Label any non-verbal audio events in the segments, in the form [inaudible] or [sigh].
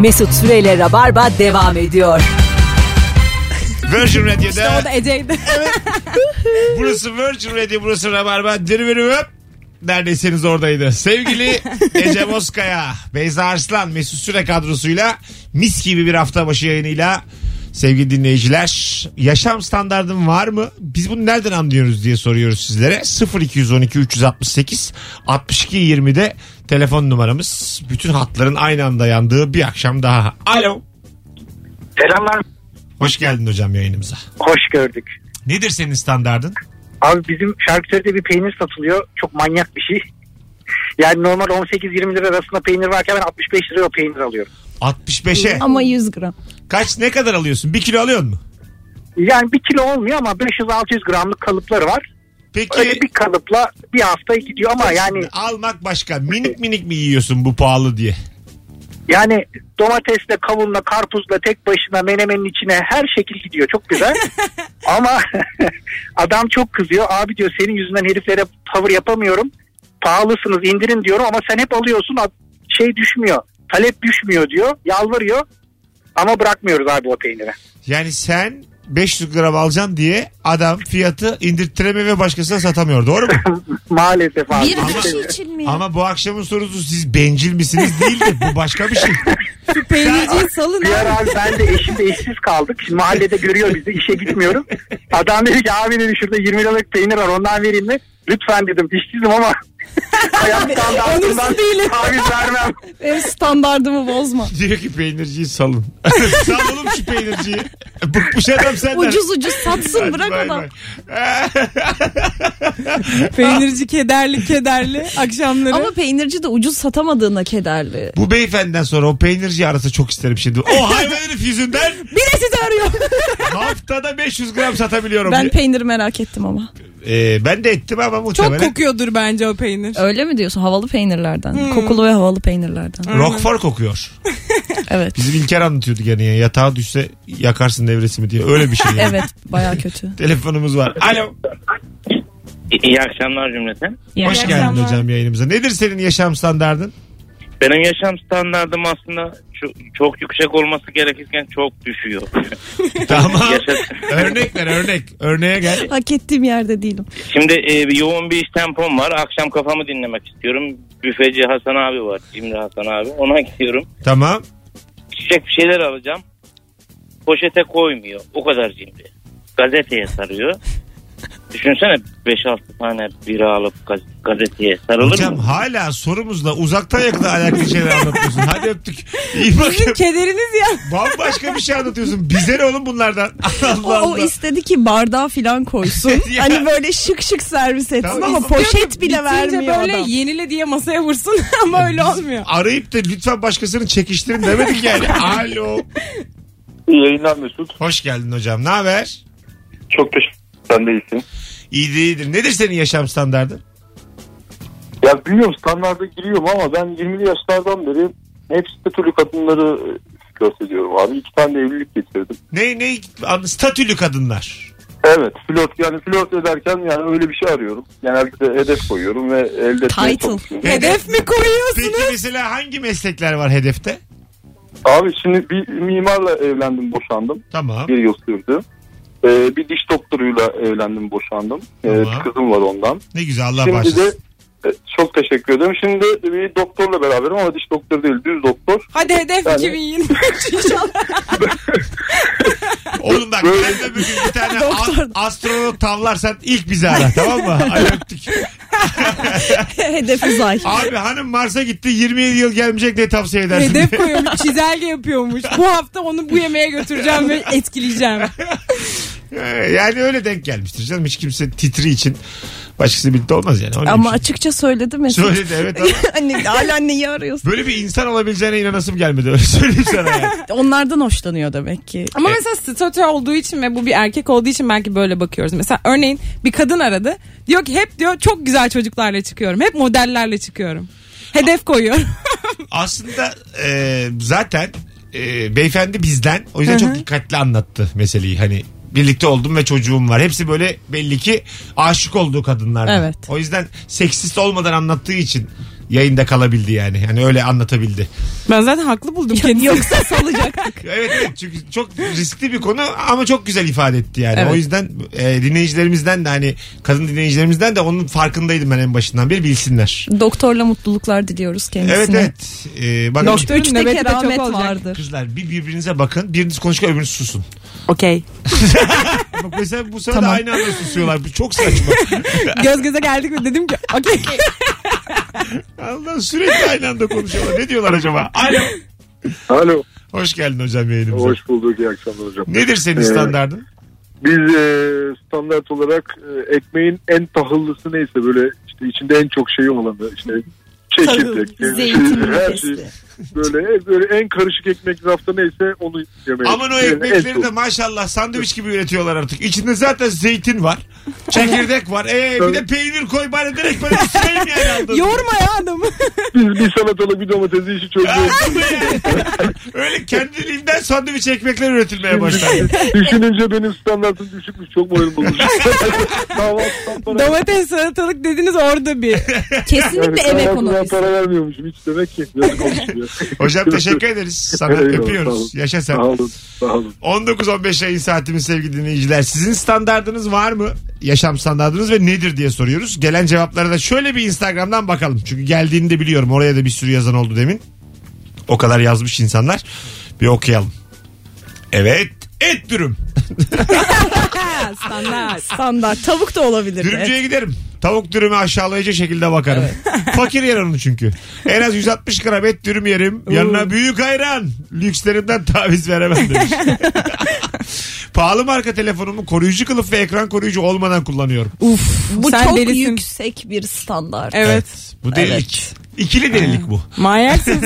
Mesut Süreyle Rabarba devam ediyor. Virgin Radio'da. O da Ece'ydi. burası Virgin Radio, burası Rabarba. Dirbirim öp. Neredeyseniz oradaydı. Sevgili Ece Bozkaya, Beyza Arslan, Mesut Süre kadrosuyla mis gibi bir hafta başı yayınıyla sevgili dinleyiciler. Yaşam standardım var mı? Biz bunu nereden anlıyoruz diye soruyoruz sizlere. 0212 368 62 20'de telefon numaramız. Bütün hatların aynı anda yandığı bir akşam daha. Alo. Selamlar. Hoş geldin hocam yayınımıza. Hoş gördük. Nedir senin standardın? Abi bizim şarküteride bir peynir satılıyor. Çok manyak bir şey. Yani normal 18-20 lira arasında peynir varken ben 65 lira o peynir alıyorum. 65'e. Ama 100 gram. Kaç ne kadar alıyorsun? Bir kilo alıyor mu? Yani bir kilo olmuyor ama 500-600 gramlık kalıpları var. Öyle Peki bir kalıpla bir hafta gidiyor ama yani almak başka. Minik minik mi yiyorsun bu pahalı diye? yani domatesle, kavunla, karpuzla, tek başına, menemenin içine her şekil gidiyor. Çok [laughs] güzel. ama [laughs] adam çok kızıyor. Abi diyor senin yüzünden heriflere tavır yapamıyorum. Pahalısınız indirin diyorum ama sen hep alıyorsun. Şey düşmüyor. Talep düşmüyor diyor. Yalvarıyor. Ama bırakmıyoruz abi o peyniri. [laughs] Yani sen 500 gram alacaksın diye adam fiyatı indirttiremiyor ve başkasına satamıyor. Doğru mu? Maalesef abi. Bir kişi için mi? ya? Ama bu akşamın sorusu siz bencil misiniz değil de bu başka bir şey. Şu peynirciyi salın Bir abi. ara abi ben de eşim de işsiz kaldık. Şimdi mahallede görüyor bizi işe gitmiyorum. Adam dedi ki abi dedi şurada 20 liralık peynir var ondan vereyim mi? Lütfen dedim işsizim ama hayattan da Onursu aklımdan değilim. taviz vermem. Benim standardımı [laughs] bozma. Diyor ki peynirciyi salın. [laughs] Sal oğlum şu peynirciyi. Bıkmış adam senden. Ucuz ucuz satsın Hadi bırak bay adam. bay. Peynirci kederli kederli akşamları. Ama peynirci de ucuz satamadığına kederli. Bu beyefendiden sonra o peynirci arası çok isterim şimdi. O hayvan herif yüzünden Bir de sizi [laughs] arıyor. haftada 500 gram satabiliyorum. ben peynir merak ettim ama. Ee, ben de ettim ama muhtemelen. kokuyordur bence o peynir. Öyle mi diyorsun? Havalı peynirlerden. Hmm. Kokulu ve havalı [laughs] peynirlerden. Roquefort kokuyor. Evet. Bizim İlker anlatıyordu gene ya. Yatağa düşse yakarsın devresimi diye. Öyle [laughs] bir şey yani. Evet baya kötü. Telefonumuz var. Alo. İyi akşamlar cümleten. Hoş Yani- geldin hocam yayınımıza. Nedir senin yaşam standardın? Benim yaşam standardım aslında çok, çok yüksek olması gerekirken çok düşüyor. tamam. Yaşa- örnek ver örnek. Örneğe gel. Hak ettiğim yerde değilim. Şimdi e, bir yoğun bir iş tempom var. Akşam kafamı dinlemek istiyorum. Büfeci Hasan abi var. İmri Hasan abi. Ona [laughs] gidiyorum. Tamam. Çiçek bir şeyler alacağım. Poşete koymuyor. O kadar cimri. Gazeteye sarıyor. Düşünsene 5-6 tane bira alıp gaz- gazeteye sarılır Hocam mı? hala sorumuzla uzaktan yakına alakalı şeyler [laughs] anlatıyorsun. Hadi öptük. İyi bakın. Kederiniz ya. Bambaşka bir şey anlatıyorsun. Bize ne oğlum bunlardan? [laughs] O, Allah o Allah. istedi ki bardağı filan koysun. [laughs] Ya. hani böyle şık şık servis etsin Tamam. ama poşet bile vermiyor böyle adam. yenile diye masaya vursun [laughs] ama öyle olmuyor. Arayıp da lütfen başkasını çekiştirin demedik yani. Alo. İyi yayınlar Mesut. Hoş geldin hocam. Ne haber? Çok teşekkür Sen de iyisin. İyidir iyidir. Nedir senin yaşam standardın? Ya biliyorum standarda giriyorum ama ben 20'li yaşlardan beri hep statülü kadınları e, flört ediyorum abi. İki tane de evlilik getirdim. Ne ne statülü kadınlar. Evet flört yani flört ederken yani öyle bir şey arıyorum. Genellikle hedef koyuyorum ve elde etmeye Title. çalışıyorum. Hedef mi koyuyorsun? Peki mesela hangi meslekler var hedefte? Abi şimdi bir mimarla evlendim boşandım. Tamam. Bir yıl sürdü. Ee, bir diş doktoruyla evlendim boşandım. Ee, Tamam. bir kızım var ondan. Ne güzel Allah Şimdi de bağışlasın. e, çok teşekkür ederim. Şimdi de bir doktorla beraberim ama diş doktoru değil düz doktor. Hadi hedef Yani- 2023 inşallah. Oğlum bak Böyle- ben de bugün bir tane a- astronot tavlarsan ilk bizi ara tamam mı? Ay öptük. [laughs] [laughs] Hedef uzay. Abi hanım Mars'a gitti 27 yıl gelmeyecek diye tavsiye edersin. [laughs] hedef koyuyormuş, çizelge yapıyormuş. Bu hafta onu bu yemeğe götüreceğim ve etkileyeceğim. Ee, yani öyle denk gelmiştir canım. Hiç kimse titri için başkası birlikte olmaz yani. Onun Ama için. açıkça söyledi Mesut. Söyledi evet ama [laughs] hani hala anneyi arıyorsun. böyle bir insan olabileceğine inanasım gelmedi. Öyle söyleyeyim sana yani. [laughs] Onlardan hoşlanıyor demek ki. Ama mesela statü olduğu için ve bu bir erkek olduğu için belki böyle bakıyoruz. Mesela örneğin bir kadın aradı. Diyor ki hep diyor çok güzel çocuklarla çıkıyorum. Hep modellerle çıkıyorum. Hedef koyuyorum. Aslında e, zaten e, beyefendi bizden. O yüzden çok dikkatli anlattı meseleyi. Hani birlikte oldum ve çocuğum var. Hepsi böyle belli ki aşık olduğu kadınlar. Evet. O yüzden seksist olmadan anlattığı için yayında kalabildi yani. Hani öyle anlatabildi. Ben zaten haklı buldum kendisini. Yoksa salacaktık. Evet evet çünkü çok riskli bir konu ama çok güzel ifade etti yani. Evet. O yüzden e, dinleyicilerimizden de hani kadın dinleyicilerimizden de onun farkındaydım ben en başından beri bilsinler. Doktorla mutluluklar diliyoruz kendisine. Evet evet. E, bakın Doktor- Üç Nöbette teke çok rahmet olacak. vardır. kızlar bir birbirinize bakın. Biriniz konuşurken öbürünüz susun. Okey. [laughs] Bak mesela bu sırada aynı anda susuyorlar. Bu çok saçma. [laughs] Göz göze geldik mi dedim ki okey. Allah sürekli aynı anda konuşuyorlar. Ne diyorlar acaba? Alo. Alo. Hoş geldin hocam yayınımıza. Hoş bulduk. iyi akşamlar hocam. Nedir senin Ee, standardın? Biz e, standart olarak e, ekmeğin en tahıllısı neyse böyle işte içinde en çok şeyi olanı [laughs] işte çekirdek, e, Zeytinli her şey besli. böyle e, böyle en karışık ekmek rafta neyse onu yemeyi. Aman o Yani en ekmekleri çok. de maşallah sandviç gibi üretiyorlar artık. İçinde zaten zeytin var. Çekirdek var. Ee, bir de peynir koy bari direkt böyle süreyim yani aldım. Yorma ya adamı. Biz bir salatalık bir domatesi [laughs] işi çözüyoruz. Öyle kendiliğinden sandviç ekmekler üretilmeye [laughs] başladı. Düşününce benim standartım düşükmüş. Çok [laughs] moralim bozuldu. Kahvaltıdan para, Domates salatalık dediniz orada bir. Kesinlikle yani ev kahvaltıdan ekonomisi. para vermiyormuşum hiç demek ki. Yazık olmuş ya. Hocam teşekkür ederiz. Sana Eyvallah, sağ öpüyoruz. olun. Yaşa sen. Sağ olun. Sağ olun. 19-15 yayın saatimiz sevgili dinleyiciler. Sizin standardınız var mı? Yaşam standardınız ve nedir diye soruyoruz. Gelen cevaplara da şöyle bir Instagram'dan bakalım. Çünkü geldiğini de biliyorum. Oraya da bir sürü yazan oldu demin. O kadar yazmış insanlar. Bir okuyalım. Evet. Et dürüm. Standart. Standart. Tavuk da olabilir. Dürümcüye giderim. Tavuk dürümü aşağılayıcı şekilde bakarım. [laughs] Fakir yer onu çünkü. En az 160 gram et dürüm yerim. Yanına büyük ayran. Lükslerinden taviz veremem demiş. Pahalı marka telefonumu koruyucu kılıf ve ekran koruyucu olmadan kullanıyorum. Uf. Bu sen çok delisin. yüksek bir standart. Evet. Bu delilik. İkili delilik bu. Manyaksın.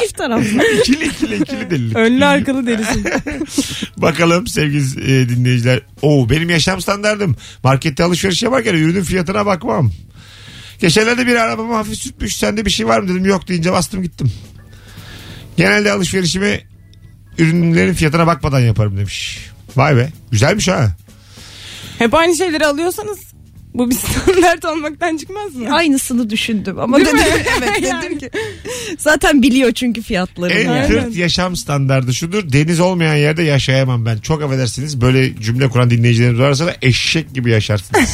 Çift taraflı. İkili ikili ikili delilik. Önlü arkalı delisin. Bakalım sevgili e, dinleyiciler. Oo benim yaşam standardım. Markette alışveriş yaparken ürünün fiyatına bakmam. Geçenlerde bir arabamı hafif sürtmüş. Sende bir şey var mı dedim. Yok deyince bastım gittim. Genelde alışverişimi ürünlerin fiyatına bakmadan yaparım demiş. Vay be. Güzelmiş ha. Hep aynı şeyleri alıyorsanız bu bir [laughs] standart olmaktan çıkmaz mı? Aynısını düşündüm ama Değil mi? dedim evet Yani. [laughs] dedim ki zaten biliyor çünkü [laughs] fiyatları. En yani. tırt yaşam standardı şudur. Deniz olmayan yerde yaşayamam ben. Çok affedersiniz böyle cümle kuran dinleyicilerimiz varsa da eşek gibi yaşarsınız.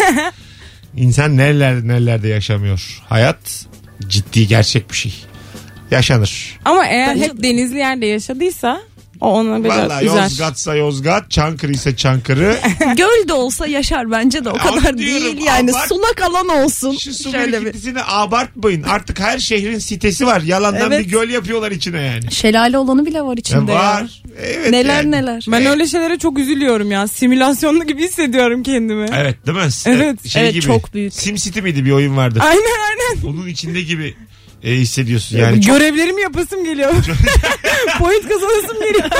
İnsan nerelerde nerelerde yaşamıyor. Hayat ciddi gerçek bir şey. Yaşanır. Ama eğer Bence hep denizli yerde yaşadıysa o ona biraz Valla üzer. Yozgat'sa Yozgat, Çankırı ise [laughs] Çankırı. Göl de olsa yaşar bence de o Ama kadar diyorum, değil yani abart- sulak alan olsun. Şu su Şöyle bir birikintisini abartmayın. Artık her şehrin sitesi var. Yalandan Evet. bir göl yapıyorlar içine yani. şelale olanı bile var içinde. ya. E, var. E, Evet Neler yani. neler. Ben öyle şeylere çok üzülüyorum ya. Simülasyonlu gibi hissediyorum kendimi. Evet değil mi? Evet. Evet, çok büyük. Sim City miydi bir oyun vardı. Aynen aynen. Onun içinde gibi e, hissediyorsun yani. Görevlerimi [laughs] yapasım geliyor. Point kazanasım geliyor.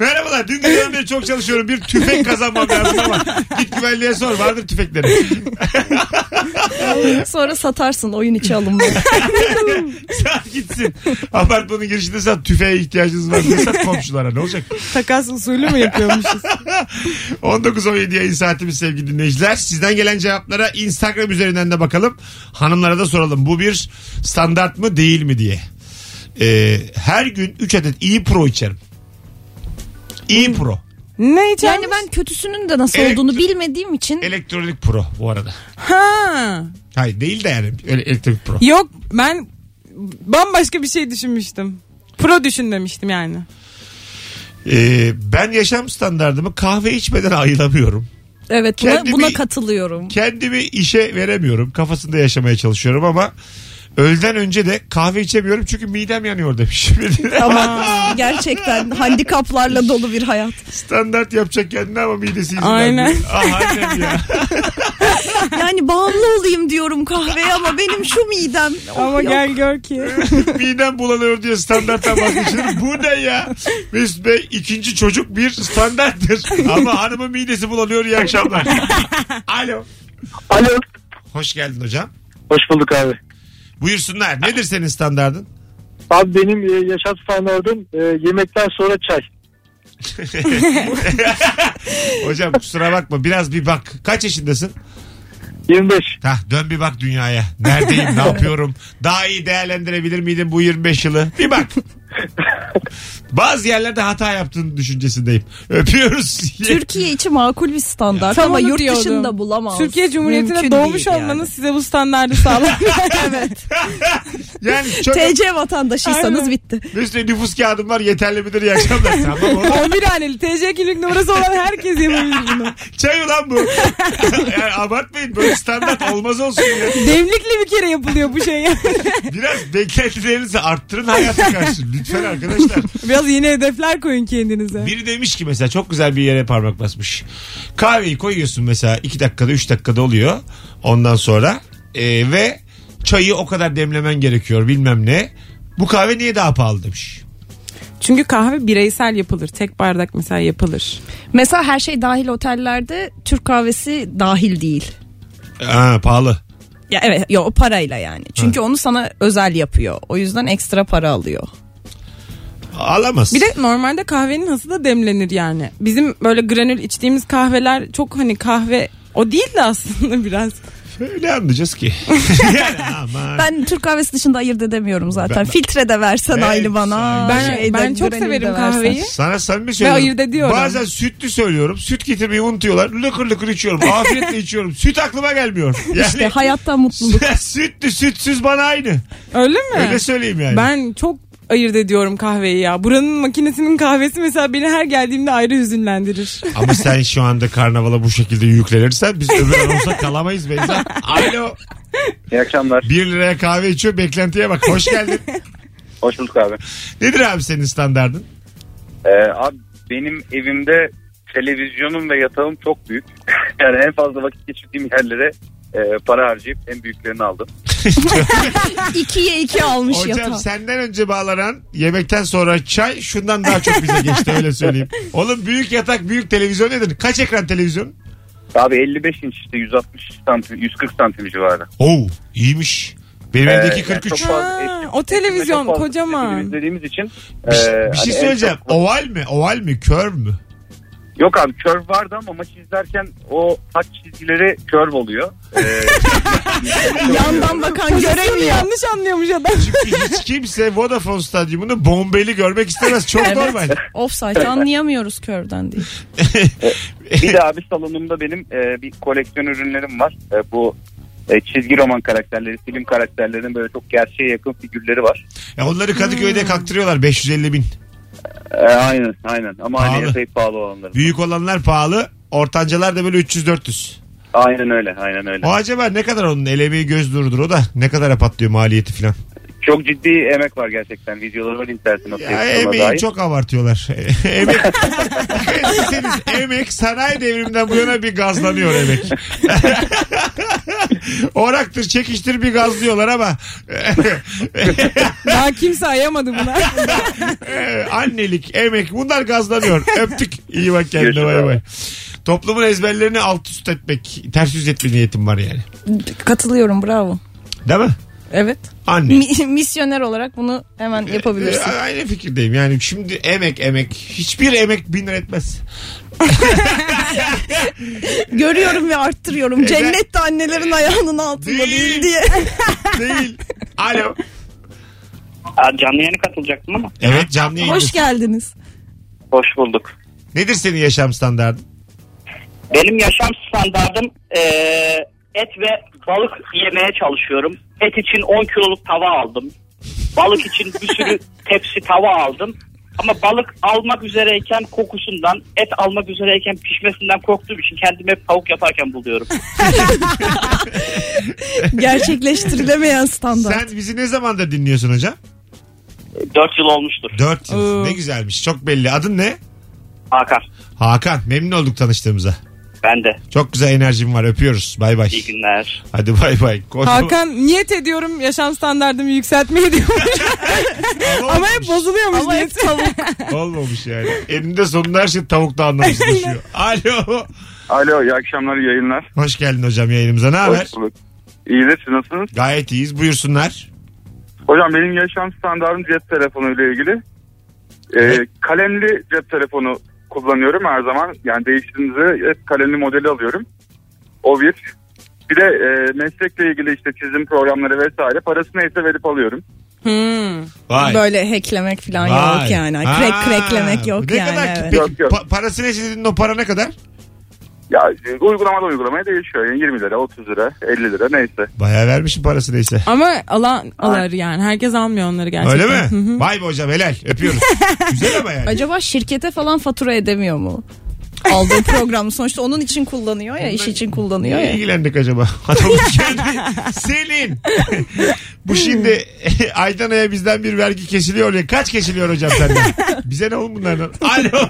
Merhabalar dün geceden beri çok çalışıyorum. Bir tüfek kazanmam lazım ama git güvenliğe sor vardır tüfekleri. [laughs] Sonra satarsın oyun içi [laughs] alınmayı. sat gitsin. Apartmanın girişinde sat tüfeğe ihtiyacınız var diye sat komşulara ne olacak? Takas usulü mü yapıyormuşuz? 19-17 yayın saatimiz sevgili dinleyiciler. Sizden gelen cevaplara Instagram üzerinden de bakalım. Hanımlara da soralım bu bir standart mı değil mi diye. Ee, her gün 3 adet iyi pro içerim. İyi pro. ne içermiş? yani ben kötüsünün de nasıl Evet. olduğunu bilmediğim için e, Elektronik pro bu arada. Ha. Hayır değil de yani öyle elektronik pro. Yok ben bambaşka bir şey düşünmüştüm. Pro düşün demiştim yani. Ee, ben yaşam standartımı kahve içmeden [laughs] ayılamıyorum. evet buna, Kendi buna bir- [laughs] katılıyorum. Kendimi işe veremiyorum. Kafasında yaşamaya çalışıyorum ama öğleden önce de kahve içemiyorum çünkü midem yanıyor demiş. [laughs] Ama gerçekten handikaplarla dolu bir hayat. Standart yapacak kendine ama midesi yüzünden. Aynen. Ah annem ya. [laughs] Yani bağımlı olayım diyorum kahveye ama benim şu midem. Ama Yok. gel gör ki. Midem bulanıyor diye standarttan vazgeçilir. Bu ne ya? Mesut Bey ikinci çocuk bir standarttır. Ama hanımın midesi bulanıyor iyi akşamlar. [laughs] Alo. Alo. Hoş geldin hocam. Hoş bulduk abi. Buyursunlar. Nedir senin standardın? Abi benim e, yaşam standardım e, yemekten sonra çay. [laughs] Hocam kusura bakma biraz bir bak. Kaç yaşındasın? 25. Hah, dön bir bak dünyaya. Neredeyim, ne yapıyorum? Daha iyi değerlendirebilir miydim bu 25 yılı? Bir bak. Bazı yerlerde hata yaptığın düşüncesindeyim. Öpüyoruz. [laughs] Türkiye içi makul bir standart Tam ama onu yurt diyordum. dışında bulamaz. Türkiye Cumhuriyeti'ne Mümkün doğmuş değil olmanız size bu standardı sağlar. [laughs] evet. [laughs] yani çok TC vatandaşıysanız Aynen. bitti. Üstüne nüfus kağıdım var yeterli midir iyi akşamlar. Tamam oğlum. 11 haneli TC kimlik numarası olan herkes yapabilir bunu. Çay ulan bu. [laughs] yani abartmayın böyle standart olmaz olsun ya. Demlikle bir kere yapılıyor bu şey. yani. Biraz beklentilerinizi arttırın hayata karşı. Lütfen arkadaşlar. Biraz yeni hedefler koyun kendinize. Biri demiş ki mesela çok güzel bir yere parmak basmış. Kahveyi koyuyorsun mesela 2 dakikada 3 dakikada oluyor. Ondan sonra Ee, ve çayı o kadar demlemen gerekiyor bilmem ne. Bu kahve niye daha pahalı demiş. Çünkü kahve bireysel yapılır. Tek bardak mesela yapılır. Mesela her şey dahil otellerde Türk kahvesi dahil değil. Ha, pahalı. Ya evet yo, o parayla yani. Çünkü onu sana özel yapıyor. O yüzden ekstra para alıyor. Alamaz. Bir de normalde kahvenin hası da demlenir yani. Bizim böyle granül içtiğimiz kahveler çok hani kahve o değil de aslında [laughs] biraz. Öyle anlayacağız [laughs] ki. yani aman. Ben Türk kahvesi dışında ayırt edemiyorum zaten. Ben- Filtre de versen Evet, aynı bana. Ben- şey de, ben çok granül de severim versen. kahveyi. Sana samimi söylüyorum. ayırt ediyorum. Bazen sütlü söylüyorum. Süt getirmeyi unutuyorlar. Lıkır lıkır içiyorum. Afiyetle içiyorum. Süt aklıma gelmiyor. Yani İşte hayattan mutluluk. [laughs] [laughs] sütlü sütsüz bana aynı. Öyle mi? Öyle söyleyeyim yani. Ben çok ayırt ediyorum kahveyi ya. Buranın makinesinin kahvesi mesela beni her geldiğimde ayrı hüzünlendirir. Ama sen şu anda karnavala bu şekilde yüklenirsen biz öbür anonsa kalamayız Beyza. Alo. İyi akşamlar. 1 liraya kahve içiyor. Beklentiye bak. Hoş geldin. Hoş bulduk abi. Nedir abi senin standardın? Ee, abi benim evimde televizyonum ve yatağım çok büyük. [laughs] yani en fazla vakit geçirdiğim yerlere e, para harcayıp en büyüklerini aldım. İkiye iki almış Hocam yatağı. senden önce bağlanan yemekten sonra çay şundan daha çok bize geçti öyle söyleyeyim. Oğlum büyük yatak büyük televizyon nedir? Kaç ekran televizyon? Abi 55 inç işte 160 santim 140 santim civarı. Oo iyiymiş. Benim Ee, evdeki yani 43. çok fazla Ha, eski- o televizyon çok fazla kocaman. televizyon izlediğimiz için bir, şey- e, bir hani şey en söyleyeceğim. çok- Oval mi? Oval mi? Kör mü? Yok abi kör vardı ama maç izlerken o taç çizgileri kör oluyor. [laughs] Ee, Yandan bakan göremiyor. Yanlış anlıyormuş adam. Çünkü hiç kimse Vodafone stadyumunu bombeli görmek istemez. Çok normal. [laughs] Offside anlayamıyoruz körden diye. [laughs] [laughs] bir de abi salonumda benim e, bir koleksiyon ürünlerim var. E, bu e, çizgi roman karakterleri, film karakterlerinin böyle çok gerçeğe yakın figürleri var. Ya E, onları Kadıköy'de kaktırıyorlar 550 bin. E, aynen aynen ama Pahalı. aynı epey pahalı olanları. Büyük olanlar pahalı. Ortancalar da böyle 300-400. Aynen öyle aynen öyle. O acaba ne kadar onun elemeği göz durudur o da ne kadara patlıyor maliyeti filan. Çok ciddi emek var gerçekten. Videoları var internetinde. Ya emeği çok abartıyorlar. E, [laughs] emek. Dikkat etseniz emek sanayi devriminden bu yana bir gazlanıyor emek. [laughs] Oraktır çekiştir bir gazlıyorlar ama [laughs] Daha kimse ayamadı [laughs] buna. Ee, annelik, emek bunlar [laughs] gazlanıyor. Öptük. İyi bak kendine bay bay. Toplumun ezberlerini alt üst etmek, ters yüz etme niyetim var yani. Katılıyorum bravo. Değil mi? Evet. Anne. misyoner olarak bunu hemen Ee, yapabilirsin. aynı fikirdeyim yani şimdi emek emek hiçbir emek bin lira etmez. Görüyorum ve arttırıyorum. Cennet de annelerin ayağının altında Değil. değil diye. Değil. Alo. Aa, Canlı yayına katılacaktım ama. Evet canlı yayındasın. [laughs] Hoş geldiniz. Hoş bulduk. Nedir senin yaşam standardın? Benim yaşam standardım eee, et ve balık yemeye çalışıyorum. Et için 10 kiloluk tava aldım. Balık için bir sürü tepsi tava aldım. Ama balık almak üzereyken kokusundan, et almak üzereyken pişmesinden korktuğum için kendimi hep tavuk yaparken buluyorum. Gerçekleştirilemeyen standart. Sen bizi ne zamandır dinliyorsun hocam? 4 yıl olmuştur. 4 yıl. Oo. Ne güzelmiş. Çok belli. Adın ne? Hakan. Hakan. Memnun olduk tanıştığımıza. Ben de. Çok güzel enerjim var. Öpüyoruz. Bay bay. İyi günler. Hadi bay bay. Kocaman- Hakan niyet ediyorum yaşam standartımı [laughs] yükseltmeye diyormuş. Ama hep bozuluyormuş Ama hep niyet. tavuk. Olmamış yani. Eninde sonunda her şey tavukta anlamışsın düşüyor. Alo. Alo iyi akşamlar iyi yayınlar. Hoş geldin hocam yayınımıza. Ne haber? Hoş bulduk. İyidir siz nasılsınız? Gayet iyiyiz. Buyursunlar. Hocam benim yaşam standartım cep telefonu ile ilgili. Ee, kalemli cep telefonu kullanıyorum her zaman. Yani değiştiğimde hep kalemli modeli alıyorum. O bir. Bir de e, meslekle ilgili işte çizim programları vesaire parasını ise verip alıyorum. Hmm. Vay. Böyle hacklemek falan Vay. yok yani. Ha, Crack cracklemek yok ne yani. Kadar ki, evet. peki, Yok, yok. pa- parası ne dedin o para ne kadar? Ya e, uygulamadan uygulamaya değişiyor. Yani 20 lira, 30 lira, 50 lira neyse. Bayağı vermişim parası neyse. Ama alan alır yani. Herkes almıyor onları gerçekten. Öyle mi? Hı hı. Vay be hocam helal [laughs] öpüyoruz. Güzel ama yani. Acaba şirkete falan fatura edemiyor mu? Aldığı programı sonuçta onun için kullanıyor ya, iş için kullanıyor Niye ya. ilgilendik acaba? [laughs] Adamın kendi- [laughs] Selin. Bu şimdi [laughs] Aydana'ya bizden bir vergi kesiliyor ya. Kaç kesiliyor hocam [laughs] senden? Bize ne oğlum bunlardan? Alo.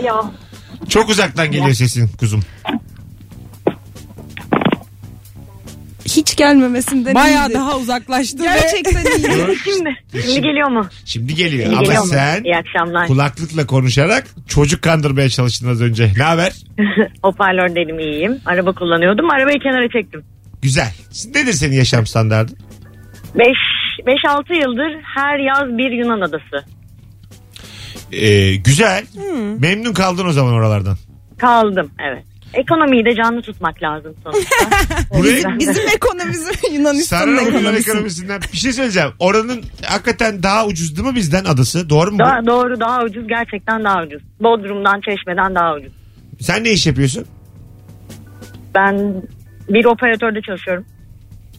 Alo. Çok uzaktan geliyor sesin kuzum. Hiç gelmemesinden Bayağı iyiydi. daha uzaklaştı ve Gerçekten [laughs] iyi. Dur. Şimdi, şimdi geliyor mu? Şimdi geliyor ama geliyor mu? sen İyi akşamlar. kulaklıkla konuşarak çocuk kandırmaya çalıştın az önce. Ne haber? Hoparlördeydim iyiyim. Araba kullanıyordum. Arabayı kenara çektim. Güzel. Nedir senin yaşam standardın? 5-6 yıldır her yaz bir Yunan adası. Ee, güzel. Memnun kaldın o zaman oralardan. Kaldım evet. Ekonomiyi de canlı tutmak lazım sonuçta. Buraya Bizim ekonomimiz Yunanistan'ın Sarı Avrupa ekonomisi. ekonomisinden bir şey söyleyeceğim. Oranın hakikaten daha ucuz değil mi bizden adası? Doğru mu? bu? daha, doğru daha ucuz gerçekten daha ucuz. Bodrum'dan Çeşme'den daha ucuz. Sen ne iş yapıyorsun? Ben bir operatörde çalışıyorum.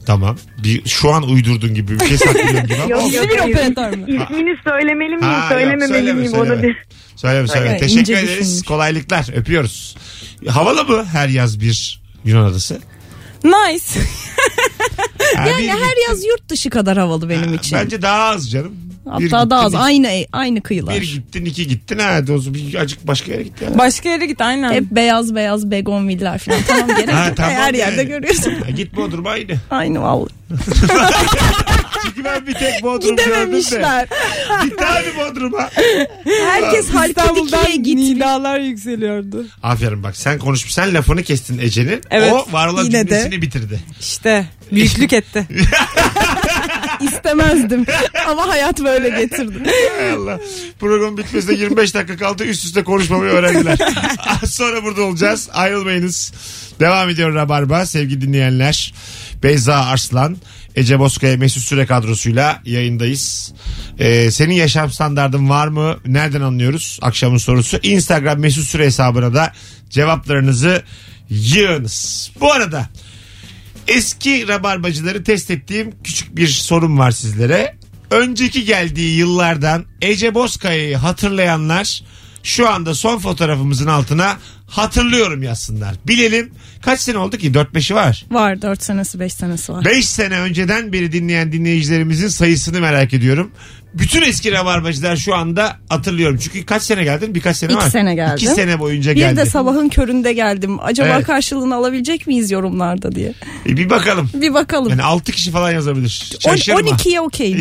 Tamam. Bir, şu an uydurdun gibi bir şey saklıyorsun gibi ama. Yok, İsmi bir operatör mü? İsmini söylemeli miyim Ha, yok, söylememeli söyleme, miyim söyleme. onu bir. Söyleme söyleme. Evet, Teşekkür ince ederiz. düşünmüş. Kolaylıklar. Öpüyoruz. Havalı mı her yaz bir Yunan adası? [laughs] nice. yani Ya her yaz yurt dışı kadar havalı benim için. Bence daha az canım. Bir Hatta daha az. gittin, Aynı aynı iki- Bir kıyılar. gittin iki gittin. Ha, dozu bir acık başka yere gitti. Başka yere git aynen. Hep beyaz beyaz begonviller falan. Tamam gerek Ha, yok. tamam Her yerde yani. görüyorsun. Ha, git Bodrum'a aynı. Aynı vallahi. Çünkü ben bir tek Bodrum gördüm de. [laughs] Gidememişler. Gitti abi Bodrum'a. Herkes hareket ikiye İstanbul'dan gitmiş. nidalar yükseliyordu. Aferin bak sen konuşmuş. Sen lafını kestin Ece'nin. Evet, o var olan yine de. cümlesini bitirdi. [laughs] İşte büyüklük etti. [laughs] İstemezdim. Ama hayat böyle getirdi. Hay Allah. Program bitmesine 25 dakika kaldı. Üst üste konuşmamayı öğrendiler. Az sonra burada olacağız. Ayrılmayınız. Devam ediyor Rabarba sevgili dinleyenler. Beyza Arslan, Ece Bozkaya, Mesut Süre kadrosuyla yayındayız. Ee, senin yaşam standardın var mı? Nereden anlıyoruz? Akşamın sorusu. Instagram Mesut Süre hesabına da cevaplarınızı yığınız. Bu arada Eski rabarbacıları test ettiğim küçük bir sorum var sizlere. Önceki geldiği yıllardan Ece Bozkaya'yı hatırlayanlar şu anda son fotoğrafımızın altına hatırlıyorum yazsınlar. Bilelim kaç sene oldu ki 4-5'i var. Var 4 senesi 5 senesi var. 5 sene önceden beri dinleyen dinleyicilerimizin sayısını merak ediyorum. Bütün eski rabarbacılar şu anda hatırlıyorum. Çünkü kaç sene geldin? Birkaç sene İki var. sene geldim. 2 sene boyunca Bir geldi. de sabahın köründe geldim. Acaba Evet. karşılığını alabilecek miyiz yorumlarda diye. E, bir bakalım. Bir bakalım. Yani 6 kişi falan yazabilir. On- Şaşırma. [laughs] [laughs] 12'ye okeyim.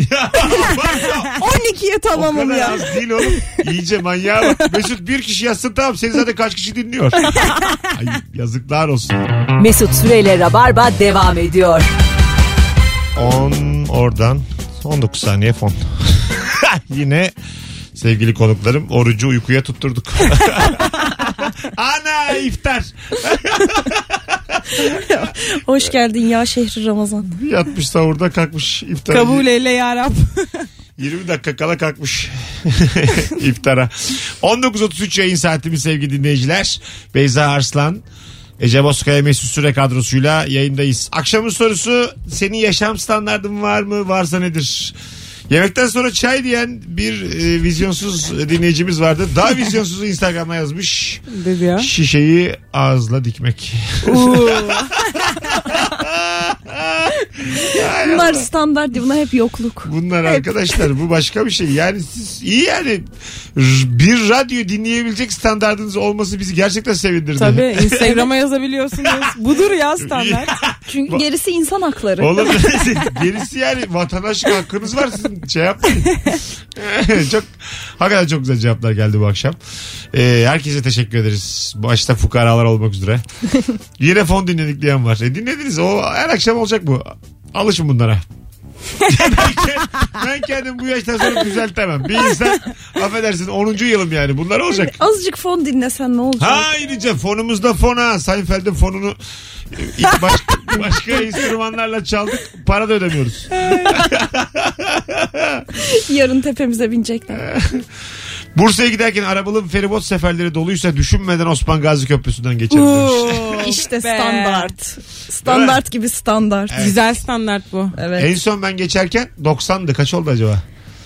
12'ye o tamamım kadar ya. az değil oğlum. İyice manyağa bak. Mesut bir kişi yazsın tamam. Seni zaten kaç kişi dinliyor. Ay, yazıklar olsun. Mesut Süreyle Rabarba devam ediyor. 10 oradan 19 saniye fon. [laughs] Yine sevgili konuklarım orucu uykuya tutturduk. [laughs] Ana iftar. Hoş geldin ya şehri Ramazan. Yatmış sahurda kalkmış iftar. Kabul eyle yarab. 20 dakika kala kalkmış [laughs] iftara. 19.33 yayın saatimiz sevgili dinleyiciler. Beyza Arslan, Ece Bozkaya Mesut Süre kadrosuyla yayındayız. Akşamın sorusu senin yaşam standardın var mı? Varsa nedir? Yemekten sonra çay diyen bir e, vizyonsuz dinleyicimiz vardı. Daha vizyonsuzu Instagram'a yazmış. Dedi ya. Şişeyi ağızla dikmek. Bunlar standart diye bunlar hep yokluk. Bunlar arkadaşlar bu başka bir şey. Yani siz iyi yani r- bir radyo dinleyebilecek standartınız olması bizi gerçekten sevindirdi. [laughs] Tabii Instagram'a yazabiliyorsunuz. Budur ya standart. Çünkü gerisi insan hakları. Oğlum [laughs] gerisi yani vatandaşlık hakkınız var sizin şey yapmayın. [laughs] çok hakikaten çok güzel cevaplar geldi bu akşam. Ee, herkese teşekkür ederiz. Başta fukaralar olmak üzere. Yine fon dinledik diyen var. E, dinlediniz o her akşam olacak bu. Alışın bunlara. [laughs] ben kendim bu yaştan sonra düzeltemem. Bir insan affedersin 10. yılım yani bunlar olacak. Azıcık fon dinlesen ne olacak? Ha ayrıca fonumuzda fona. Seinfeld'in fonunu e, [laughs] baş, başka enstrümanlarla çaldık. Para da ödemiyoruz. Yarın tepemize binecekler. Bursa'ya giderken arabalı feribot seferleri doluysa düşünmeden Osman Gazi Köprüsü'nden geçerim demiş. işte be. standart. Standart gibi standart. Güzel standart bu. Evet. En son ben geçerken 90'dı. Kaç oldu acaba?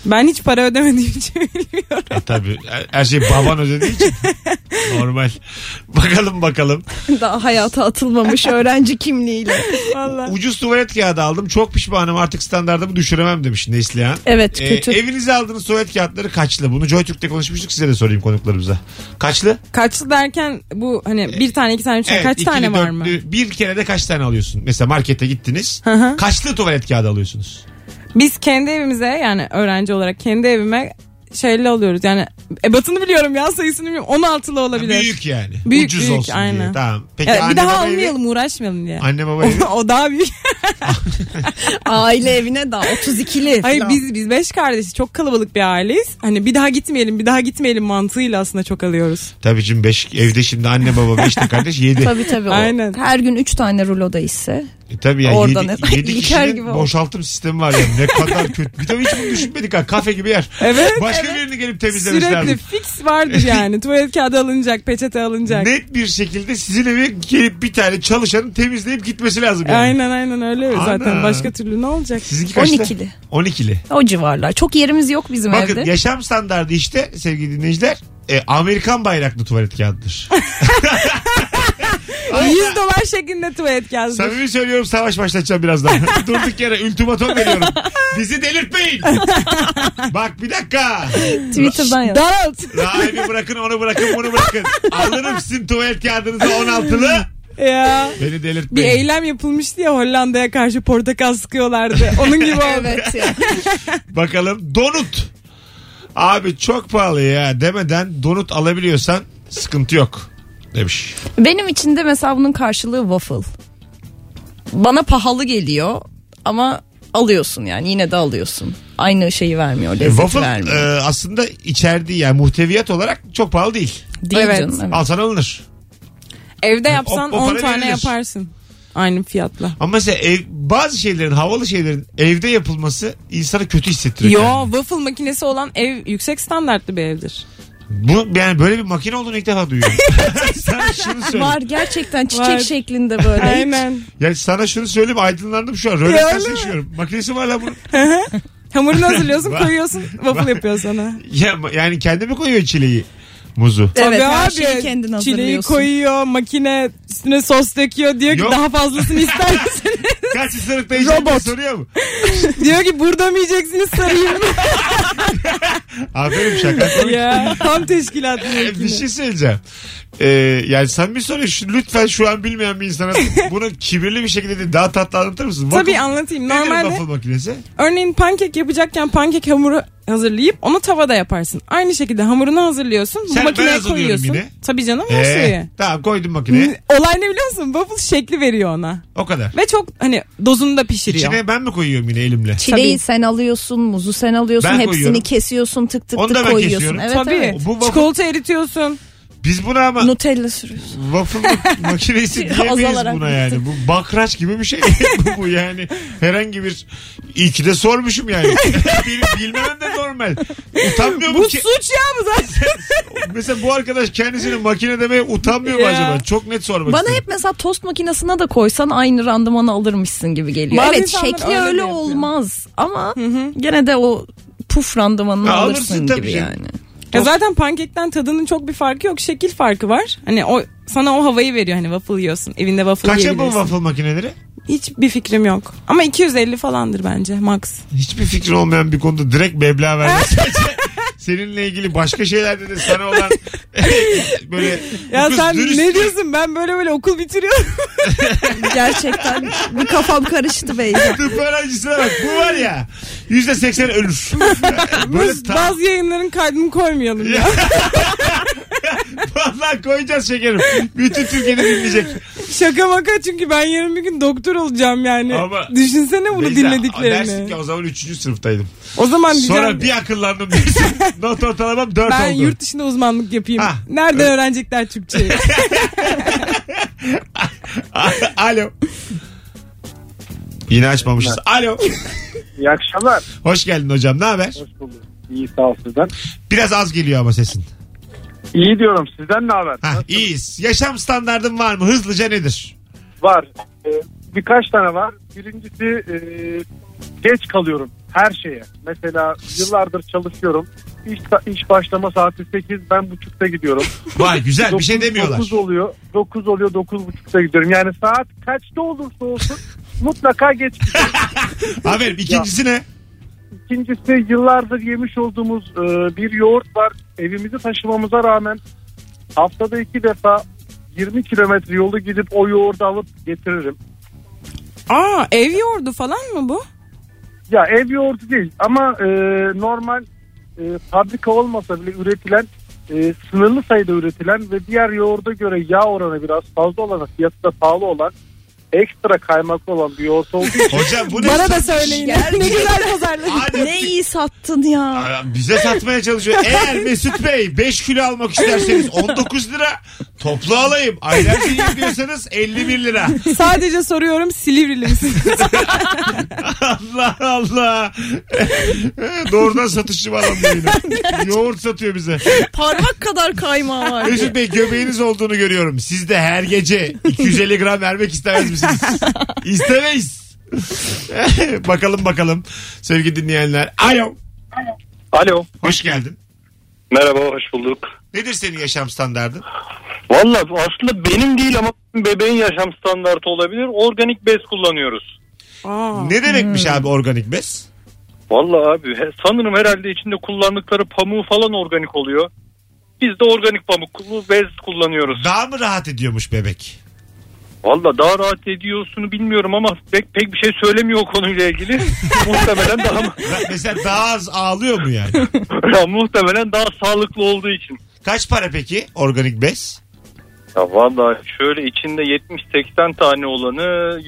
Ben hiç para ödemediğim için [laughs] bilmiyorum. E tabii her- her şey baban ödediği için. [laughs] Normal. Bakalım bakalım. [laughs] Daha hayata atılmamış öğrenci kimliğiyle. Valla. Ucuz tuvalet kağıdı aldım. Çok pişmanım artık standartımı düşüremem demiş Neslihan. Evet Ee, kötü. evinize aldığınız tuvalet kağıtları kaçlı? Bunu JoyTürk'te konuşmuştuk size de sorayım konuklarımıza. Kaçlı? Kaçlı derken bu hani bir tane iki tane üç tane kaç ikili, tane var mı? dörtlü. Bir kere de kaç tane alıyorsun? Mesela markete gittiniz. Hı hı. Kaçlı tuvalet kağıdı alıyorsunuz? Biz kendi evimize yani öğrenci olarak kendi evime şeyli alıyoruz. Yani ebatını biliyorum ya sayısını bilmiyorum. 16'lı olabilir. Büyük yani. Büyük, Ucuz büyük, olsun diye. aynen. Tamam. Peki Evet, anne bir daha baba evi? almayalım uğraşmayalım diye. Anne baba evi. O, [laughs] o daha büyük. Aile evine daha 32'li. Hayır falan. biz biz beş kardeşiz. Çok kalabalık bir aileyiz. Hani bir daha gitmeyelim, bir daha gitmeyelim mantığıyla aslında çok alıyoruz. Tabii şimdi beş, evde şimdi anne baba beş de kardeş [laughs] yedi. tabii. Tabii tabii. o. Aynen. Her gün 3 tane ruloda ise. tabii yani Oradan yedi, hep- [laughs] yedi İlker kişinin gibi oldu. boşaltım sistemi var yani. Ne kadar kötü. Bir tabii hiç bunu düşünmedik ha. Kafe gibi yer. Evet. Başka birini gelip temizlemesi Sürekli lazım. [laughs] fix vardır yani. Tuvalet kağıdı alınacak, peçete alınacak. Net bir şekilde sizin eve gelip bir tane çalışanın temizleyip gitmesi lazım yani. Aynen aynen öyle Ana. zaten. Başka türlü ne olacak? Sizinki kaçta? 12'li. 12'li. O civarlar. Çok yerimiz yok bizim Bakın evde. yaşam standardı işte sevgili dinleyiciler. e, Amerikan bayraklı tuvalet kağıdıdır. 100 dolar şeklinde tuvalet kağıdı. Samimi söylüyorum savaş başlatacağım birazdan. Durduk yere ultimatom veriyorum. Bizi delirtmeyin. Bak bir dakika. Twitter'dan yaz. Donald. Rahibi bırakın onu bırakın bunu bırakın. Alırım sizin tuvalet kağıdınızı 16'lı. Ya. Beni Bir delirtmeyin. eylem yapılmıştı ya Hollanda'ya karşı portakal sıkıyorlardı. [laughs] Onun gibi oldu. [laughs] Evet ya. Bakalım donut. Abi çok pahalı ya demeden donut alabiliyorsan sıkıntı yok demiş. Benim için de mesela bunun karşılığı waffle. Bana pahalı geliyor ama alıyorsun yani yine de alıyorsun. Aynı şeyi vermiyor, lezzeti Waffle vermiyor. e, aslında içerdiği yani muhteviyat olarak çok pahalı değil. Değil evet. canım, evet. Alsan alınır. Evde yapsan o 10 para tane verilir. yaparsın. Aynı fiyatla. Ama mesela ev, bazı şeylerin havalı şeylerin evde yapılması insanı kötü hissettiriyor. Yo yani. waffle makinesi olan ev yüksek standartlı bir evdir. Bu yani böyle bir makine olduğunu ilk defa [laughs] duyuyorum. sana şunu söyleyeyim. Var gerçekten çiçek Var. şeklinde [laughs] böyle. Aynen. Yani sana şunu söyleyeyim aydınlandım şu an. Rönesans yaşıyorum. Makinesi var lan bunun. Hamurunu hazırlıyorsun Var. koyuyorsun waffle yapıyor sana. Ya, yani kendi mi koyuyor çileği? Muzu. Evet, Tabii her abi, şeyi kendin Çileği hazırlıyorsun. koyuyor makine üstüne sos döküyor diyor ki Yok. daha fazlasını ister misin? Kaç ısırıkta yiyecek diye soruyor mu? diyor ki burada mı yiyeceksiniz sarayım mı? Aferin [laughs] şaka. ya tam teşkilatlı Ee, makine. bir şey söyleyeceğim. Ee, yani sen bir soru şu, lütfen şu an bilmeyen bir insana bunu kibirli bir şekilde değil, daha tatlı anlatır mısın? Tabii Waffle- anlatayım. Nedir Normalde waffle makinesi? Örneğin pankek yapacakken pankek hamuru hazırlayıp onu tavada yaparsın. Aynı şekilde hamurunu hazırlıyorsun. Sen- bu ben makineye hazırlıyorum koyuyorsun. yine. Tabii canım her şeyi. Ee, tamam koydum makineye. Olay ne biliyor musun? Waffle şekli veriyor ona. O kadar. Ve çok hani dozunda pişiriyor. İçine ben mi koyuyorum yine elimle? Çileği Tabii. sen alıyorsun, muzu sen alıyorsun, Ben hepsini koyuyorum. kesiyorsun, tık tık Onu da tık ben koyuyorsun. kesiyorum. Evet, Tabii. evet. Bu waffle- Çikolata eritiyorsun. Biz buna ama Nutella sürüyorsun. waffle [laughs] makinesi diyemeyiz Azalarak buna yani. Bu bakraç gibi bir şey. [laughs] bu, bu yani herhangi bir... İyi ki de sormuşum [laughs] yani. Benim bilmemem de normal. Utanmıyor mu Bu ki? suç ya bu zaten. Mesela bu arkadaş kendisini makine demeye utanmıyor mu Ya. acaba? Çok net sormak Bana istedim. hep mesela tost makinesine de koysan aynı randımanı alırmışsın gibi geliyor. Bazı evet insanlar şekli öyle öyle, de yapıyor. olmaz ama gene de o puf randımanını Ya alırsın alırsın, tabii gibi canım. yani. Ya zaten pankekten tadının çok bir farkı yok. Şekil farkı var. Hani o sana o havayı veriyor hani waffle yiyorsun. Evinde waffle Kaça bu yiyebilirsin. waffle makineleri? Hiçbir fikrim yok. Ama 250 falandır bence max. Hiçbir fikri olmayan bir konuda direkt meblağ vermesi. [laughs] Seninle ilgili başka şeylerde de sana olan [laughs] böyle bu Ya kız sen dürüst- ne diyorsun? Ben böyle böyle okul bitiriyorum. [laughs] Gerçekten bir kafam karıştı beyler. Tıp öğrencisine bak bu var ya yüzde seksen [laughs] ölür. böyle Biz tam [laughs] bazı yayınların kaydını koymayalım ya. Vallahi koyacağız şekerim. Bütün Türkiye'de dinleyecek. Şaka maka çünkü ben yarın bir gün doktor olacağım yani. Ama- Düşünsene bunu Beyza, Dersin dinlediklerini. ki o zaman 3. sınıftaydım. O zaman diyeceğim. Sonra bir akıllandım [laughs] dersin. Not ortalamam 4 ben oldu. yurt dışında uzmanlık yapayım. Ha, Nerede öğrenecekler Türkçeyi? [laughs] Alo. Yine açmamışız. Alo. İyi akşamlar. Hoş geldin hocam. Ne haber? Hoş bulduk. İyi sağ ol sizden. Biraz az geliyor ama sesin. İyi diyorum sizden ne haber? Ha, Nasıl- iyiyiz. Yaşam standardın var mı? Hızlıca nedir? Var. Ee, birkaç tane var. Birincisi e, geç kalıyorum her şeye. Mesela yıllardır çalışıyorum. İş, iş başlama saati 8 ben buçukta gidiyorum. Vay güzel [laughs] bir şey Dokuz- demiyorlar. dokuz oluyor. 9 oluyor. 9 buçukta gidiyorum. Yani saat kaçta [laughs] olursa olsun mutlaka geç. gidiyorum. Aferin ikincisi ne? İkincisi yıllardır yemiş olduğumuz e, bir yoğurt var. Evimizi taşımamıza rağmen haftada iki defa 20 kilometre yolu gidip o yoğurdu alıp getiririm. Aa ev yoğurdu falan mı bu? Ya ev yoğurdu değil ama e, normal e, fabrika olmasa bile üretilen e, sınırlı sayıda üretilen ve diğer yoğurda göre yağ oranı biraz fazla olan fiyatı da pahalı olan ekstra kaymaklı olan bir yoğurt olduğu için Hocam bu ne? Bana da söyleyin. ne güzel pazarlık. Adem- Ne iyi sattın ya. Aa, Bize satmaya çalışıyor. Eğer Mesut Bey 5 kilo almak isterseniz 19 lira toplu alayım. Aylarca yiyin diyorsanız 51 lira. [laughs] Sadece soruyorum Silivri'li misin? Allah Allah. [laughs] Doğrudan satışçı var adam [laughs] yine. Yoğurt satıyor bize. Parmak kadar kaymağı var. Mesut Bey göbeğiniz olduğunu görüyorum. Siz de her gece 250 gram vermek istemez misiniz? İstemeyiz. [laughs] bakalım bakalım sevgili dinleyenler. Alo. [laughs] Alo. Hoş geldin. Merhaba hoş bulduk. Nedir senin yaşam standardın? Valla aslında benim değil ama bebeğin yaşam standartı olabilir. Organik bez kullanıyoruz. Aa. Ne demekmiş abi organik bez? Valla abi he- sanırım herhalde içinde kullandıkları pamuğu falan organik oluyor. Biz de organik pamuklu bez kullanıyoruz. Daha mı rahat ediyormuş bebek? Valla daha rahat ediyorsunu bilmiyorum ama pek pek bir şey söylemiyor o konuyla [laughs] ilgili. muhtemelen daha Ra- Mesela daha az ağlıyor mu yani? ya muhtemelen daha sağlıklı olduğu için. Kaç para peki organik bez? Ya valla şöyle içinde 70-80 tane olanı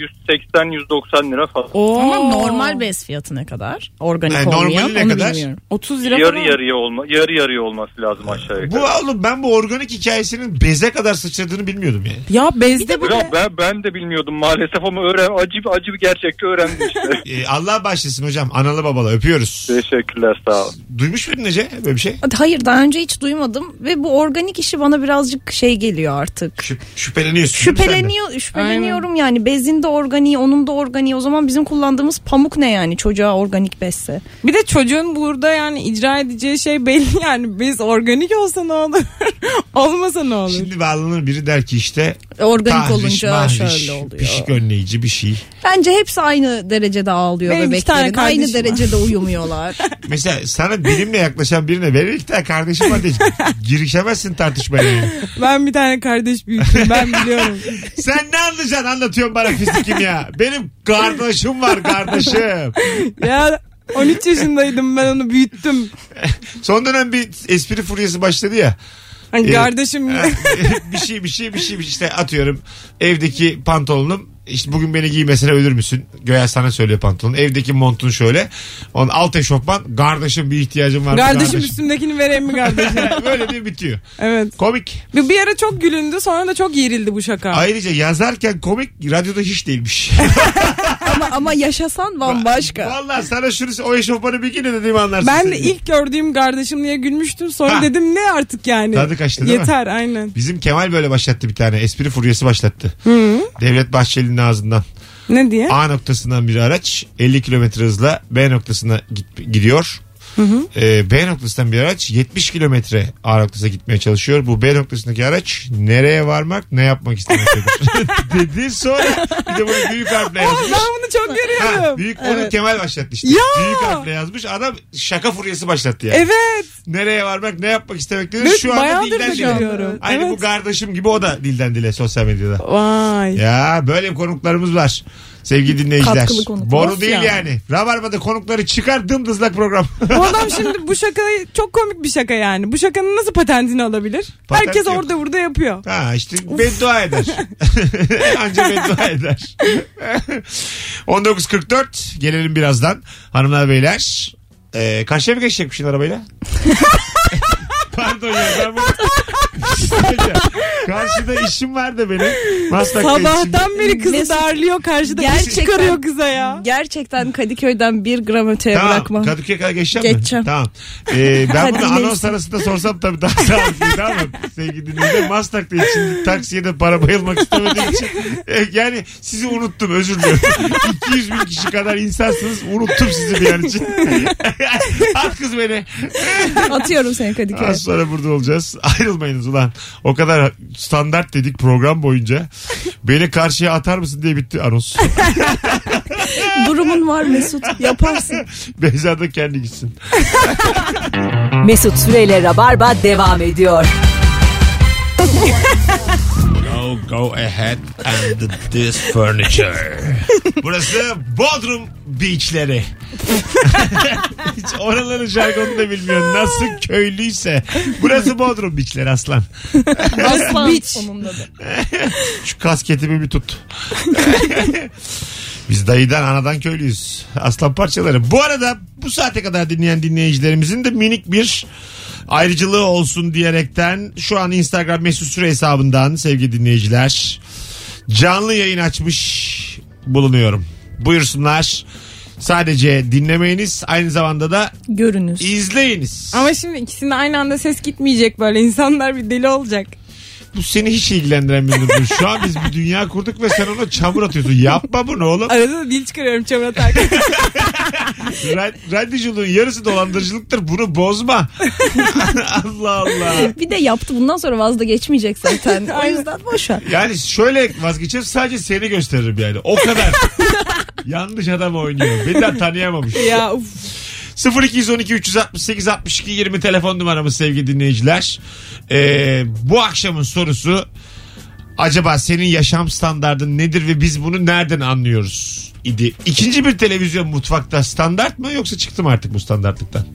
180-190 lira falan. Ama normal bez fiyatı ne kadar? Organik Yani normali olmayan ne onu kadar? bilmiyorum. 30 lira Yarı falan. yarıya olma yarı yarıya olması lazım aşağı Bu yukarı. oğlum ben bu organik hikayesinin beze kadar sıçradığını bilmiyordum yani. Ya bezde bu. Ya ben, ben de bilmiyordum maalesef ama öğren, acı, acı bir gerçekte öğrendim [laughs] işte. Ee, Allah başlasın hocam. Analı babalı öpüyoruz. Ee, Teşekkürler sağ ol. Duymuş muydun Ece böyle bir şey? Hayır daha önce hiç duymadım ve bu organik işi bana birazcık şey geliyor artık. Şüp- şüpheleniyorsun. değil mi sen de? Şüpheleniyor, şüpheleniyorum yani bezin de organiği onun da organiği o zaman bizim kullandığımız pamuk ne yani çocuğa organik bezse. Bir de çocuğun burada yani icra edeceği şey belli [laughs] yani. Biz organik olsa ne olur? [laughs] Olmasa ne olur? Şimdi bağlanır biri der ki işte Organik tahriş, olunca mahriş, şöyle oluyor. Pişik önleyici bir şey. Bence hepsi aynı derecede ağlıyor Benim iki bebeklerin. tane Aynı kardeşim var. derecede uyumuyorlar. Mesela sana bilimle yaklaşan birine verir iki tane kardeşim var diye [laughs] girişemezsin tartışmaya. yani. Ben bir tane kardeş büyüttüm [laughs] ben biliyorum. Sen ne anlayacaksın anlatıyorsun bana fizik kimya. Benim kardeşim var kardeşim. ya 13 yaşındaydım ben onu büyüttüm. Son dönem bir espri furyası başladı ya. Hani Evet. kardeşim [laughs] bir şey bir şey bir şey bir şey. işte atıyorum evdeki pantolonum işte bugün beni giymesine ölür müsün? Göğe sana söylüyor pantolon. Evdeki montun şöyle. Onun alt eşofman. Kardeşim bir ihtiyacım var. mı [laughs] [laughs] kardeşim üstümdekini vereyim mi kardeşim? Böyle diye bitiyor. Evet. Komik. Bir, bir ara çok gülündü sonra da çok yerildi bu şaka. Ayrıca yazarken komik radyoda hiç [laughs] değilmiş. ama, ama yaşasan bambaşka. Vallahi sana şunu o eşofmanı bir giyine dediğimi anlarsın. ben sen. de ilk gördüğüm kardeşim diye gülmüştüm sonra Ha. dedim ne artık yani. Tadı kaçtı değil mi? Yeter aynen. Bizim Kemal böyle başlattı bir tane. Espri furyası başlattı. Devlet Bahçeli'nin ağzından. Ne diye? A noktasından bir araç 50 kilometre hızla B noktasına git- gidiyor. Ee, B noktasından bir araç 70 kilometre A noktasına gitmeye çalışıyor. Bu B noktasındaki araç nereye varmak ne yapmak [laughs] istemektedir. dedi sonra bir de bunu büyük harfle Oğlum yazmış. Ah, ben bunu çok Ha, görüyorum. büyük onu Kemal başlattı işte. Ya! Büyük harfle yazmış. Adam şaka furyası başlattı yani. Evet. Nereye varmak ne yapmak istemektedir. Evet, Şu anda bayağıdır dilden da dile. görüyorum. Aynı Evet. bu kardeşim gibi o da dilden dile sosyal medyada. Vay. Ya böyle konuklarımız var. Sevgili dinleyiciler. Katkılı konuk. Boru Nasıl değil ya? yani. Rabarba'da konukları çıkar dımdızlak program. Bu Adam şimdi bu şakayı çok komik bir şaka yani. Bu şakanın nasıl patentini alabilir? Patent Herkes yok. orada burada [laughs] yapıyor. Ha işte beddua eder. [laughs] Anca beddua eder. [laughs] 19.44 gelelim birazdan. Hanımlar beyler. Ee, karşıya mı geçecekmişsin arabayla? [laughs] Pardon ya ben bunu... [laughs] şey Karşıda işim var da benim. Maslak'ta işim. Sabahtan beri kızı Mesut, darlıyor karşıda. Gerçekten. gerçekten- çıkarıyor kıza ya. Gerçekten Kadıköy'den bir gram öteye Tamam. bırakma. Kadıköy'e kadar geçeceğim mi? Ee, Geçeceğim. Tamam. Ee, ben Hadi bunu neyse. anons arasında sorsam tabii daha sağlıklıydı ama sevgili dinleyiciler Maslak'ta için taksiye de para bayılmak istemediğim için e, yani sizi unuttum özür [laughs] dilerim. 200 bin kişi kadar insansınız unuttum sizi bir an için. [laughs] At kız beni. [laughs] Atıyorum seni Kadıköy'e. Az sonra burada olacağız. Ayrılmayınız ulan. O kadar standart dedik program boyunca. Beni karşıya atar mısın diye bitti anons. [laughs] Durumun var Mesut [laughs] yaparsın. Beyza da kendi gitsin. Mesut Süreyle Rabarba devam ediyor. Go, go ahead and this furniture. Burası Bodrum Beach'leri. [laughs] Hiç oraların jargonunu da bilmiyorum. Nasıl köylüyse. Burası Bodrum Beach'leri aslan. Aslan Biç. sonunda da. Şu kasketimi bir tut. Biz dayıdan anadan köylüyüz. Aslan parçaları. Bu arada bu saate kadar dinleyen dinleyicilerimizin de minik bir ayrıcılığı olsun diyerekten şu an Instagram mesut süre hesabından sevgili dinleyiciler canlı yayın açmış bulunuyorum. Buyursunlar. Sadece dinlemeyiniz aynı zamanda da Görünüz. izleyiniz. Ama şimdi ikisinde aynı anda ses gitmeyecek böyle. insanlar bir deli olacak. Bu seni hiç ilgilendiren bir durum. Şu an biz bir dünya kurduk ve sen ona çamur atıyorsun. Yapma bunu oğlum. Arada da dil çıkarıyorum çamur atarken. [laughs] Ra- radyoculuğun yarısı dolandırıcılıktır. Bunu bozma. [laughs] Allah Allah. Bir de yaptı bundan sonra vazda geçmeyecek zaten. o yüzden boş ver. Yani şöyle vazgeçer sadece seni gösteririm yani. O kadar. Yanlış adam oynuyor. Beni de tanıyamamış. ya uf. 0212 368 62 20 telefon numaramız sevgili dinleyiciler. Ee, bu akşamın sorusu acaba senin yaşam standardın nedir ve biz bunu nereden anlıyoruz? idi. İkinci bir televizyon mutfakta standart mı yoksa çıktım artık bu standartlıktan?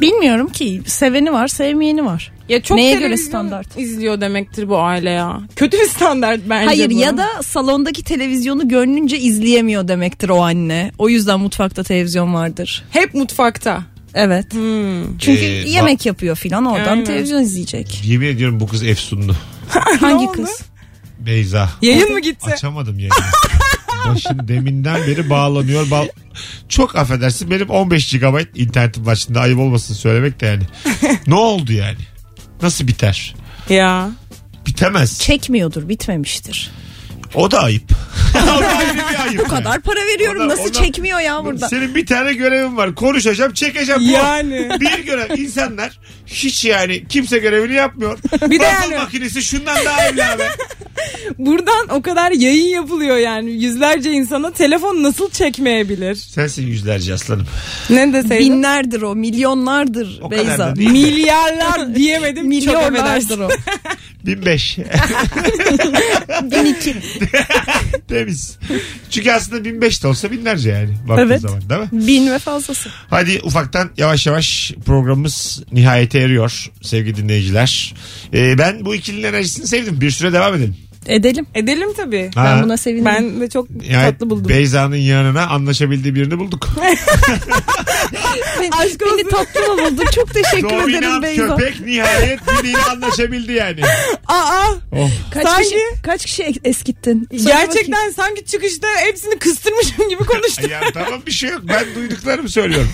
Bilmiyorum ki seveni var sevmeyeni var. Ya çok Neye televizyon göre standart? izliyor demektir bu aile ya. Kötü bir standart bence Hayır bu. ya da salondaki televizyonu gönlünce izleyemiyor demektir o anne. O yüzden mutfakta televizyon vardır. hep mutfakta. Evet. Çünkü Ee, yemek yapıyor filan oradan Hmm. Aynen. televizyon [laughs] izleyecek. Yemin ediyorum bu kız Efsunlu. Hangi oldu? kız? Beyza. Yayın mı gitti? Açamadım yayını. Başın deminden beri bağlanıyor. Bağ... Çok affedersin benim 15 GB internetim var şimdi ayıp olmasın söylemek de yani. ne oldu yani? Nasıl biter? Ya. Bitemez. Çekmiyordur, bitmemiştir. O da ayıp. o da ayrı bir ayıp. Bu kadar para veriyorum Ona- nasıl ona- çekmiyor ya burada? Senin bir tane görevin var. Konuşacağım, çekeceğim. Bu. Yani. Bir görev. insanlar hiç yani kimse görevini yapmıyor. Bir de yani- makinesi şundan daha evli abi. Buradan o kadar yayın yapılıyor yani. Yüzlerce insana telefon nasıl çekmeyebilir? Sensin yüzlerce aslanım. Ne deseydin? Binlerdir o, milyonlardır O kadar Beyza. da değil. [laughs] Milyarlar diyemedim. Çok Milyonlardır affedersin. o. 1005. 1002. [laughs] Temiz. Çünkü aslında 1005 de olsa binlerce yani. Baktığın Evet. zaman değil mi? [laughs] Bin ve fazlası. Hadi ufaktan yavaş yavaş programımız nihayete eriyor sevgili dinleyiciler. Ee, ben bu ikilinin enerjisini sevdim. Bir süre devam edelim. Edelim. Edelim tabii. Ha. Ben buna sevindim. Ben de çok Yani tatlı buldum. Beyza'nın yanına anlaşabildiği birini bulduk. Aşk beni tatlı mı buldun? Çok teşekkür ederim Dominant Beyza. köpek nihayet biriyle anlaşabildi yani. Aa Oh. Kaç Sanki- kişi kaç kişi eskittin? Söyle gerçekten bakayım. sanki çıkışta hepsini kıstırmışım gibi konuştum. Ya tamam bir şey yok. Ben duyduklarımı söylüyorum.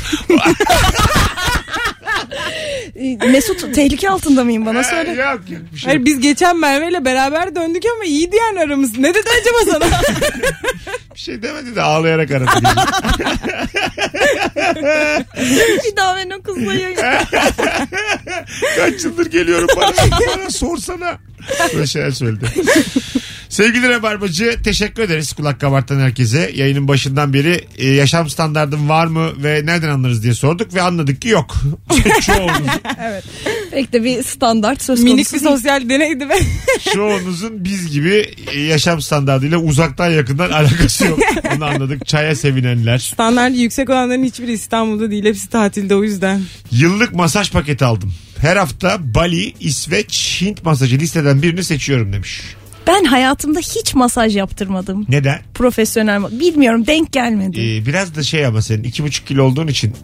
Mesut tehlike altında mıyım bana Ha, söyle. yok yok bir şey Hayır yok. biz geçen Merve'yle beraber döndük ama iyiydi yani aramız. Ne dedi acaba sana? Bir şey demedi de ağlayarak aradı. Bir daha ben o kızla yayın. Kaç yıldır geliyorum bana, bana sorsana. Böyle şeyler söyledi. Sevgili Rabarbacı teşekkür ederiz kulak kabartan herkese. Yayının başından beri e, yaşam standardın var mı ve nereden anlarız diye sorduk ve anladık ki yok. [laughs] çoğunuz, [laughs] Pek de bir standart söz konusu [laughs] Minik bir değil. sosyal deneydi ve [laughs] çoğunuzun biz gibi e, yaşam standardıyla uzaktan yakından alakası yok. Onu anladık. Çaya sevinenler. standart yüksek olanların hiçbiri İstanbul'da değil. Hepsi tatilde o yüzden. Yıllık masaj paketi aldım. Her hafta Bali, İsveç, Hint masajı listeden birini seçiyorum demiş. Ben hayatımda hiç masaj yaptırmadım. Neden? Profesyonel bilmiyorum denk gelmedi. Ee, biraz da şey ama senin iki buçuk kilo olduğun [laughs] için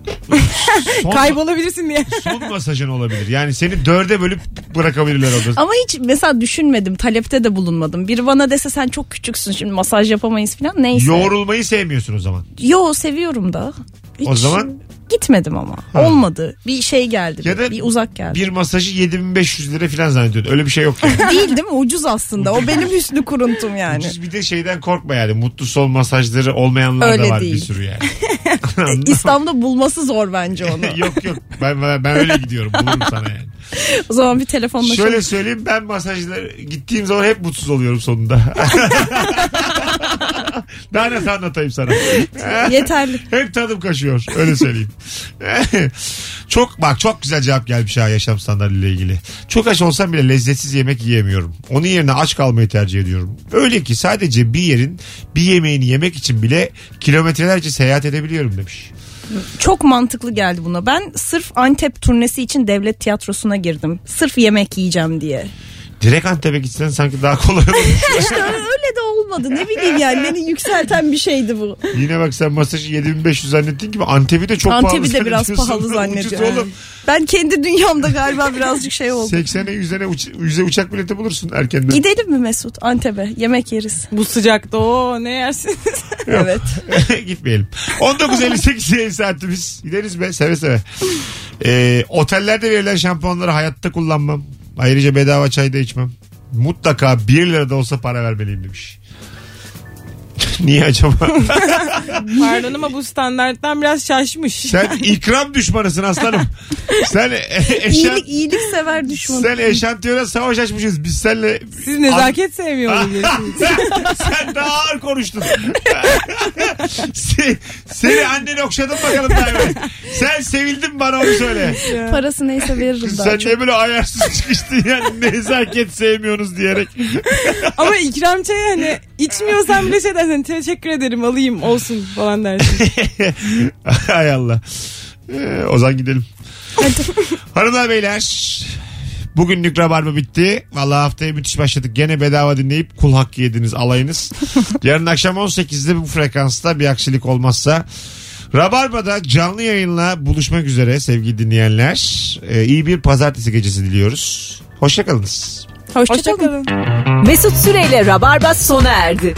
son, Kaybolabilirsin diye. son masajın olabilir. Yani seni dörde bölüp bırakabilirler orada. Ama hiç mesela düşünmedim. Talepte de bulunmadım. Biri bana dese sen çok küçüksün şimdi masaj yapamayız falan. Neyse. Yoğrulmayı sevmiyorsun o zaman. Yo seviyorum da. Hiç O zaman- Gitmedim ama. Ha. Olmadı. Bir şey geldi. Ya da bir uzak geldi. Bir masajı 7500 lira falan zannediyordun. Öyle bir şey yok yani. Değil değil mi? Ucuz aslında. O benim hüsnü [laughs] kuruntum [laughs] yani. Ucuz bir de şeyden korkma yani. Mutlu son masajları olmayanlar da Öyle var bir değil. sürü [laughs] yani. İstanbul'da bulması zor bence [laughs] onu. yok yok ben, ben, ben öyle gidiyorum bulurum sana yani. O zaman bir telefonla Şöyle söyleyeyim ben masajlara gittiğim zaman hep mutsuz oluyorum sonunda. [laughs] Daha nasıl anlatayım sana? yeterli. Hep tadım kaçıyor. Öyle söyleyeyim. [laughs] çok bak çok güzel cevap gelmiş ha yaşam standartıyla ilgili. Çok aç olsam bile lezzetsiz yemek yiyemiyorum. Onun yerine aç kalmayı tercih ediyorum. Öyle ki sadece bir yerin bir yemeğini yemek için bile kilometrelerce seyahat edebiliyorum demiş. Çok mantıklı geldi buna. Ben sırf Antep turnesi için devlet tiyatrosuna girdim. Sırf yemek [laughs] yiyeceğim diye. Direkt Antep'e gitsen sanki daha kolay [laughs] olur. İşte öyle de olmadı. Ne bileyim yani beni yükselten bir şeydi bu. Yine bak sen masajı 7500 zannettiğin gibi Antep'i de çok pahalı Antep'i de biraz zannediyorsun. [laughs] pahalı Ucuz zannediyorum. oğlum. Ben kendi dünyamda galiba birazcık [laughs] şey oldu. 80'e 100'e uç, 100'e uçak bileti bulursun erkenden. Gidelim mi Mesut Antep'e? Yemek yeriz. [laughs] Bu sıcakta o ne yersin? Evet. [laughs] Gitmeyelim. 19.58 yayın saatimiz. Gideriz be seve seve. Ee, otellerde verilen şampuanları hayatta kullanmam. Ayrıca bedava çay da içmem. Mutlaka 1 lira da olsa para vermeliyim demiş. [laughs] Niye acaba? [laughs] Pardon ama bu standarttan biraz şaşmış. Sen ikram düşmanısın aslanım. Sen e- eşan, İyilik, iyilik sever düşmanı. sen eşantiyona savaş açmışız. Biz seninle Siz nezaket [laughs] sevmiyor olabilirsiniz. Sen daha ağır konuştun. Se- seni annen okşadın bakalım daha evvel. Sen sevildin bana onu söyle. Parası neyse veririm Kız daha sen çok. ne böyle ayarsız çıkıştın yani nezaket sevmiyorsunuz diyerek. Ama ikram çayı hani içmiyorsan bile şey dersin teşekkür ederim alayım olsun falan dersin. [laughs] Hay Allah. Ee, o zaman gidelim. Hanımlar beyler. Bugünlük rabarba bitti. Vallahi haftaya müthiş başladık. Gene bedava dinleyip kul hakkı yediniz alayınız. Yarın akşam 18'de bu frekansta bir aksilik olmazsa Rabarba'da canlı yayınla buluşmak üzere sevgili dinleyenler. Ee, iyi bir pazartesi gecesi diliyoruz. Hoşçakalınız. Hoşçakalın. Hoşçakalın. Mesut Süreyle Rabarba sona erdi.